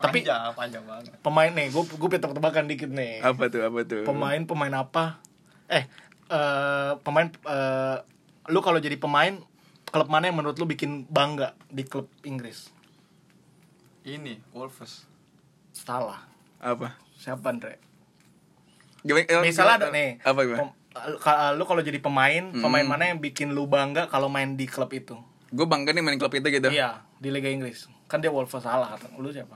S1: Tapi-
S3: panjang, panjang banget.
S1: Pemain nih, gue gue tebak-tebakan dikit nih.
S2: apa tuh apa tuh
S1: Pemain pemain apa? Eh, eh, pemain eh, lu kalau jadi pemain klub mana yang menurut lu bikin bangga di klub Inggris?
S3: Ini Wolves.
S1: Salah.
S2: apa
S1: Siapa Andre?
S2: Gimana- eh,
S1: Misalnya ada
S2: gimana?
S1: nih.
S2: apa gimana
S1: pem- lu- ka- eh, lu kalau jadi pemain,
S3: Hmm.
S1: pemain mana yang bikin lu bangga kalau main di klub itu?
S2: gue bangga nih main klub itu gitu
S1: Iya, di Liga Inggris. Kan dia Wolves salah kata. Lu siapa?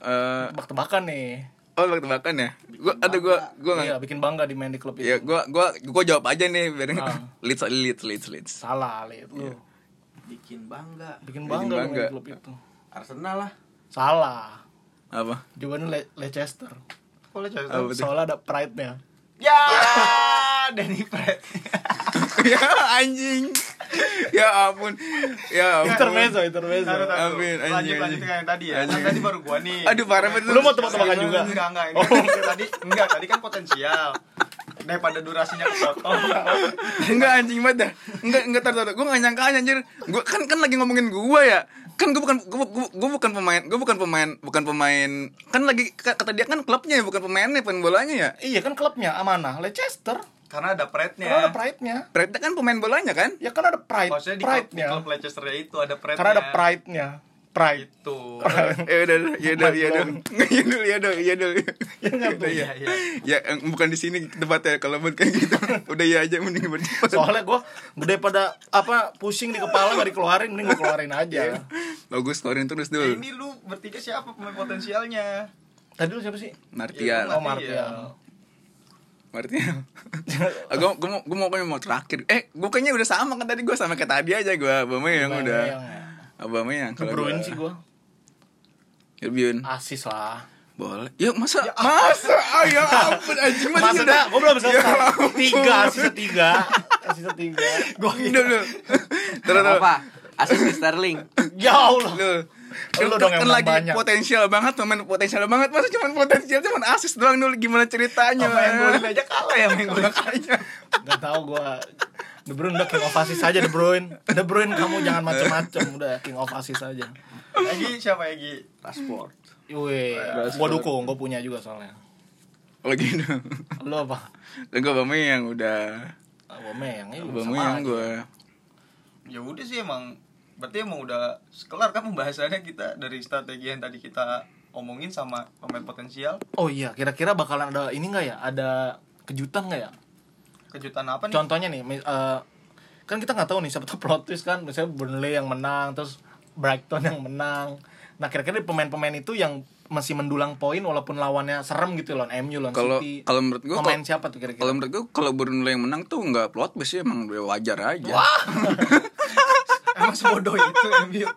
S2: Eh,
S1: Tebak-tebakan nih.
S2: oh tebak tebakan ya gue aduh gue gue
S1: Iya, bikin bangga di main di klub itu.
S2: ya gue gue gue jawab aja nih biar
S1: Ah.
S2: leads leads leads leads
S1: Salah, Lid.
S3: Iya.
S1: Lu
S4: Bikin bangga.
S1: bikin
S2: Bikin
S1: bangga, lu main
S2: bangga.
S1: di klub itu.
S4: Arsenal lah.
S1: Salah.
S2: apa
S1: Jawabannya Le- Leicester.
S3: Boleh coba.
S2: Apa tuh?
S1: Soalnya ada pride-nya.
S3: Ya, Danny Pratt.
S2: ya anjing ya ampun ya ampun
S1: Intermezzo, intermezzo.
S2: Iya,
S3: Taruh, taruh.
S2: Amin,
S3: lanjut
S2: anjing.
S3: lanjut ke yang tadi ya. Kan
S2: Anjing.
S3: tadi baru gua nih. Iya,
S2: aduh parah banget
S1: Lu mau tebak-tebakan juga? Oh.
S3: Enggak, enggak. Ini kan tadi enggak, tadi kan potensial. Daripada durasinya kepotong.
S2: enggak anjing banget dah enggak enggak tar tar gue nggak nyangka aja, anjir gue kan kan lagi ngomongin gue ya kan gue bukan gue bukan pemain gue bukan pemain bukan pemain kan lagi k- kata dia kan klubnya ya bukan pemainnya pemain bolanya ya
S1: Iya kan klubnya amanah Leicester.
S3: Karena ada Pratt-nya.
S1: Karena ada pride-nya.
S2: berarti kan pemain bolanya kan
S1: Ya kan ada pride,
S3: Maksudnya di klub, di
S1: pride-nya.
S3: klub Leicester itu ada Pratt.
S1: Karena ada pride-nya. Pride.
S3: itu.
S2: ya udah ya udah ya udah ya udah ya udah ya udah
S3: Iya, iya.
S2: ya em, bukan di sini tempatnya kalau buat kayak gitu udah ya aja mending bercepat
S1: soalnya gue gede pada apa pusing di kepala gak dikeluarin mending gue keluarin
S2: Iya.
S1: aja
S2: bagus keluarin terus
S3: Eh,
S2: dulu
S3: Ini lu bertiga siapa pemain potensialnya?
S1: tadi lu siapa sih
S3: Ya,
S1: oh
S2: Martial
S3: gua
S1: Martial
S2: Martial Ah, gua gua mau gua mau kayaknya mau terakhir eh gua kayaknya udah sama kan tadi gua sama kayak tadi aja gua Obama yang udah Obama yang kalau
S1: Bruin
S2: gua-
S1: sih Ah. gue
S2: Irbiun.
S1: asis lah
S2: boleh yuk masa masa ah ya ampun anjing masa
S1: masa
S2: udah Iya.
S1: dah gue belum selesai tiga asis tiga asis tiga
S2: gua
S1: gitu.
S2: udah lu terus apa
S4: Apa? Asis Sterling.
S1: ya allah
S2: lu
S1: Lu
S2: Lu
S1: dong yang
S2: kan
S1: menang
S2: lagi
S1: banyak.
S2: potensial banget pemain potensial banget masa cuman potensial cuman asis doang dulu gimana ceritanya
S3: Pemain golin
S2: man?
S3: aja kalah ya main golin.
S2: makanya
S1: gak tau gue De Bruyne udah king of asis aja De Bruyne De Bruyne kamu jangan macem-macem udah king of asis aja
S3: Egi siapa Egi?
S4: Rashford.
S1: Wih, gue dukung, gue punya juga soalnya
S2: oh gitu
S1: Lu apa?
S2: dan gua Obama yang udah
S1: Aubameyang, iya
S2: Obama
S1: sama
S2: yang
S1: aja.
S2: gua
S3: Ya udah sih emang berarti emang udah sekelar kan pembahasannya kita dari strategi yang tadi kita omongin sama pemain potensial.
S1: Oh iya, kira-kira bakalan ada ini nggak ya? Ada kejutan nggak ya?
S3: Kejutan apa nih?
S1: Contohnya nih, mis- eh, kan kita nggak tahu nih siapa tahu plot twist kan, misalnya Burnley yang menang, terus Brighton yang menang. Nah kira-kira di pemain-pemain itu yang masih mendulang poin walaupun lawannya serem gitu loh MU lawan
S2: Kalau
S1: City.
S2: kalau menurut gua
S1: pemain
S2: kalau-
S1: siapa tuh kira-kira?
S2: kalau menurut gua kalau Bruno yang menang tuh nggak plot base sih emang udah wajar aja.
S3: Emang sebodoh itu MU.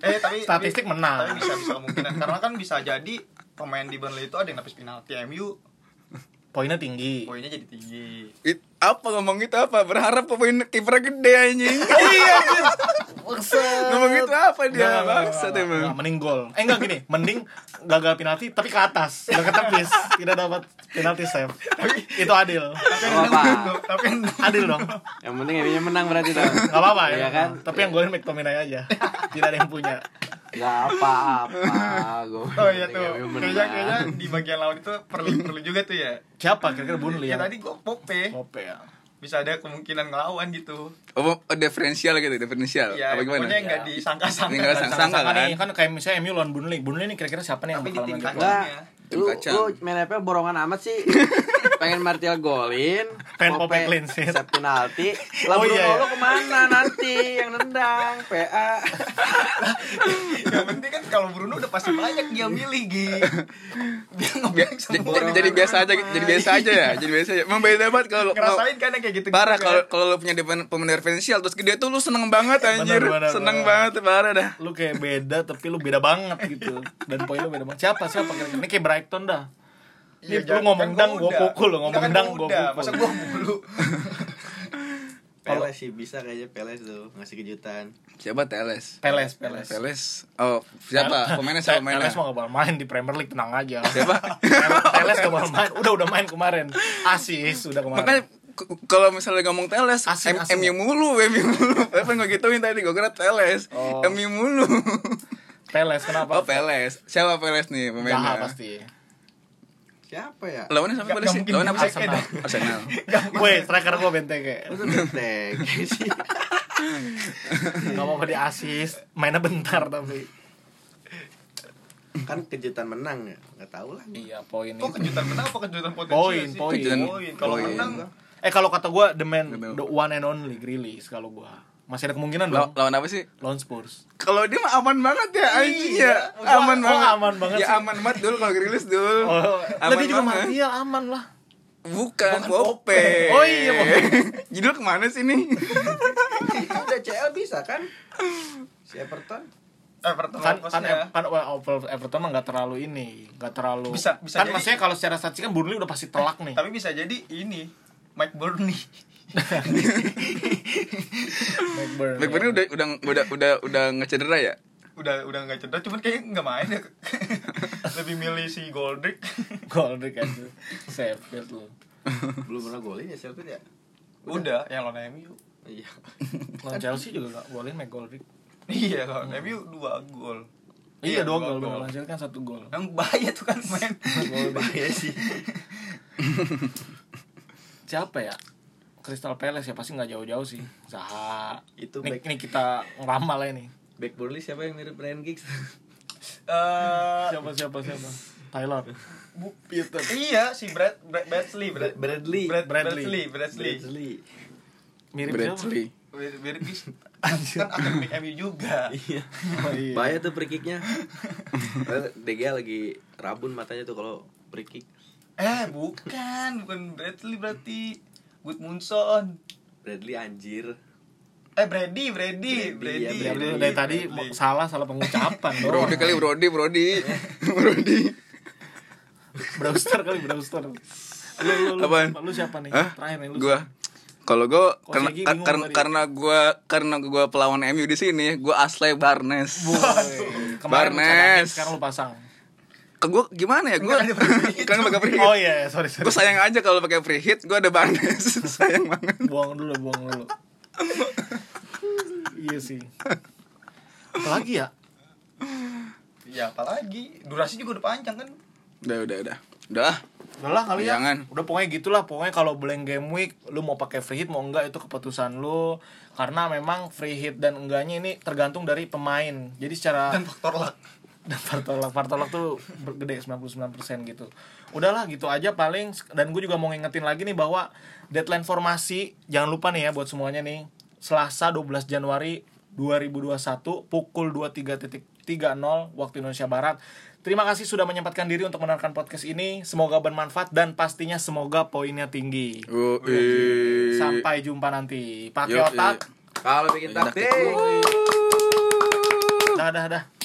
S3: eh tapi
S1: Statistik
S3: tapi-
S1: menang.
S3: Tapi bisa bisa kemungkinan karena kan bisa jadi pemain di Burnley itu ada yang nafis penalti MU
S1: Poinnya tinggi.
S3: poinnya jadi tinggi.
S2: It- apa ngomong gitu apa berharap pemain kiper gede anjing iya anjing. ngomong gitu apa dia bangsat
S1: Nggak,
S2: emang
S1: mending gol. Eh enggak gini, mending gagal penalti tapi ke atas, enggak ke tepis, tidak dapat penalti save. Itu adil.
S4: Nggak apa-apa.
S3: Tapi
S1: Adil dong.
S4: Yang penting MU menang berarti tuh.
S1: Enggak apa-apa ya.
S4: Iya kan?
S1: Tapi yang golin McTominay aja. Tidak ada yang punya.
S4: Enggak apa-apa. Gua
S3: Oh iya
S4: penting
S3: tuh,
S4: MU menang.
S3: kayaknya kayaknya di bagian lawan itu perlu perlu juga tuh ya.
S1: Siapa kira-kira Burnley
S3: Ya,
S1: yang
S3: tadi gue pope
S1: Mope ya.
S3: bisa ada kemungkinan ngelawan gitu.
S2: oh, oh, diferensial gitu diferensial
S3: Ya,
S2: apa gimana Iya.
S3: pokoknya nggak disangka-sangka.
S2: Nggak disangka. Sangka
S1: Sangka
S2: kan?
S1: nih, kan kayak misalnya MU lawan Burnley. Burnley ini kira-kira siapa nih yang
S3: Tapi
S1: bakal gitu?
S3: di tim
S1: maju?
S3: kacang.
S4: Enggak. Lu,
S2: Kacang.
S4: lu main FPL borongan amat sih. Pengen Martial golin,
S1: Pengen Pope clean sheet.
S4: set penalti. Lah
S1: Oh,
S4: Bruno
S1: iya, ya.
S4: lu kemana nanti yang nendang PA.
S3: Yang penting kan kalau Bruno udah pasti banyak dia milih gitu. Dia
S2: Bia-
S3: ngebank
S2: j-
S3: semua.
S2: j- jadi biasa aja jadi biasa aja ya jadi biasa aja emang beda banget kalau
S3: Ngerasain kan yang kayak gitu.
S2: parah kalau kalau lu punya depan pemain referensial terus gede tuh lu seneng banget anjir
S1: Benar, benar,
S2: seneng
S1: benar.
S2: banget parah dah
S1: lu kayak beda tapi lu beda banget gitu dan poin lu beda banget siapa siapa kira-kira ini kayak Brighton dah ini
S3: Iya,
S1: lu
S3: jangan-
S1: ngomong
S3: kan
S1: dang
S3: gua
S1: gua
S3: udah.
S1: pukul lu
S3: Enggak,
S1: ngomong
S3: kan
S1: dang
S3: gua
S1: gua
S3: udah. Masa
S1: pukul
S3: gua mulu.
S4: Peles sih bisa kayaknya Peles tuh ngasih kejutan.
S2: siapa Teles
S1: Peles Peles
S2: Teles
S1: Nah,
S2: oh siapa pemainnya siapa pemainnya
S1: Peles mah gak bakal main di Premier League tenang aja
S2: siapa
S1: Peles gak bakal main udah udah main kemarin asis udah kemarin
S2: Makanya k- kalau misalnya ngomong teles,
S1: Asin,
S2: M-
S1: asin.
S2: MU mulu, MU mulu. Apa gue gituin tadi, gue kira teles.
S1: Oh.
S2: MU mulu.
S1: Peles kenapa
S2: Oh, Peles. Siapa Peles nih
S1: Jaha
S2: pemainnya?
S1: pasti
S4: Siapa ya?
S2: Lawannya sama
S3: Nggak-
S2: Peles sih?
S3: nggak mungkin
S2: Lawan apa sih?
S1: Arsenal.
S2: Arsenal.
S1: Weh, striker gua benteke
S4: Lu Iya. tuh benteng sih.
S1: Gak apa-apa di asis Mainnya bentar tapi
S4: Kan kejutan menang ya. Enggak tahu lah.
S1: Iya poin
S3: Kok
S1: itu
S3: kejutan menang apa kejutan potensi
S1: Poin,
S3: sih?
S1: poin.
S3: Kejutan- Kalau
S2: Poin.
S3: menang
S1: Eh kalau kata gua the man
S2: The man.
S1: The one and only Grealish kalau gua Masih ada kemungkinan dong
S2: Law- Lawan apa sih?
S1: Lawan Spurs
S2: Kalau dia mah aman banget ya anjing ya.
S1: Gua-
S2: Aman
S1: gua
S2: banget.
S1: aman banget
S2: Ya
S1: sih.
S2: aman banget dulu kalau rilis dulu.
S1: Oh, lah dia juga
S2: banget.
S1: Martial aman lah.
S2: Bukan Pope.
S1: Oh iya, Pope.
S2: Judul kemana sih nih?
S4: Itu udah CL bisa kan? Si Everton.
S3: eh pertemuan
S1: Kan kan,
S3: kosnya.
S1: kan Apple Everton mah nggak terlalu ini, nggak terlalu.
S3: Bisa- bisa
S1: kan
S3: jadi-
S1: maksudnya kalau secara statistik kan Burnley udah pasti telak nih.
S3: Tapi bisa jadi ini Mike Burney.
S1: Blackburn.
S2: Backbone udah udah udah udah udah ngecedera ya?
S3: udah udah nggak cedera cuman kayaknya nggak main ya lebih milih si Goldrick
S1: Goldrick kan tuh. Sheffield lu.
S4: Belum pernah golin ya Sheffield ya?
S3: udah yang lawan MU
S4: Iya.
S1: Lawan Chelsea juga nggak golin Mike Goldrick.
S3: iya lawan MU dua gol
S1: Iya, dua gol bener. Lawan Chelsea kan satu gol.
S3: yang bahaya tuh kan Eh, main
S4: Bahaya sih.
S1: Siapa ya? Crystal Palace ya pasti nggak jauh-jauh sih. Zaha.
S4: Itu
S1: Ini,
S4: back-
S1: ini kita ngeramal ya nih.
S4: Back Burnley siapa yang mirip Ryan Giggs?
S3: Eh,
S1: Siapa siapa siapa? Taylor.
S3: bu- iya si Brad, Brad Bradley Brad,
S4: Bradley.
S3: Brad-
S1: Bradley.
S3: Bradley Bradley
S4: Bradley.
S1: Mirip siapa?
S2: Bradley.
S3: Mir- mirip is- kan akademik MU juga
S4: Iya.
S1: Oh, iya.
S4: Bahaya tuh free kicknya. Padahal DG lagi rabun matanya tuh kalau free kick.
S3: eh bukan bukan Bradley berarti Goodmunson
S4: Bradley anjir.
S3: eh Brady Brady
S4: Brady,
S3: Brady
S4: ya,
S1: Ya,
S4: Brady.
S1: lu dari tadi
S3: Bradley.
S1: salah salah pengucapan doang.
S2: Brody kali Brody Brody Brody
S1: Brewster kali Brewster. Lu lu, lu,
S2: Apaan?
S1: lu siapa nih?
S2: Hah?
S1: Terakhir nih lu.
S2: gua kalau gua
S1: Kok
S2: karena
S1: Segi
S2: kar-
S1: bingung
S2: karena
S1: tadi?
S2: karena gua karena gua pelawan MU di sini gua Ashley Barnes
S1: Woi, Kemarin lu
S2: Barnes.
S1: cadangin, sekarang lu pasang.
S2: ke gua gimana ya gua kan pakai free hit
S1: Oh iya, iya, sorry sorry.
S2: gua sayang aja kalau pakai free hit gua ada Barnes sayang banget
S1: Buang dulu, buang dulu. iya sih. Apalagi ya?
S3: ya apalagi durasi juga udah panjang kan
S2: udah udah udah udah lah.
S1: Udah lah kali ya.
S2: Jangan.
S1: Udah pokoknya gitulah, pokoknya kalau blank game week lu mau pakai free hit mau enggak itu keputusan lu karena memang free hit dan enggaknya ini tergantung dari pemain. Jadi secara
S3: dan faktor luck
S1: dan partolak partolak tuh ber- gede 99% gitu udahlah gitu aja paling dan gue juga mau ngingetin lagi nih bahwa deadline formasi jangan lupa nih ya buat semuanya nih Selasa 12 Januari 2021 pukul 23.30 waktu Indonesia Barat Terima kasih sudah menyempatkan diri untuk mendengarkan podcast ini. Semoga bermanfaat dan pastinya semoga poinnya tinggi.
S2: Woi.
S1: Sampai jumpa nanti. Pakai
S2: Yoi.
S1: otak.
S4: Kalau bikin
S2: Bikin taktik.
S4: taktik.
S1: Dah dah dah.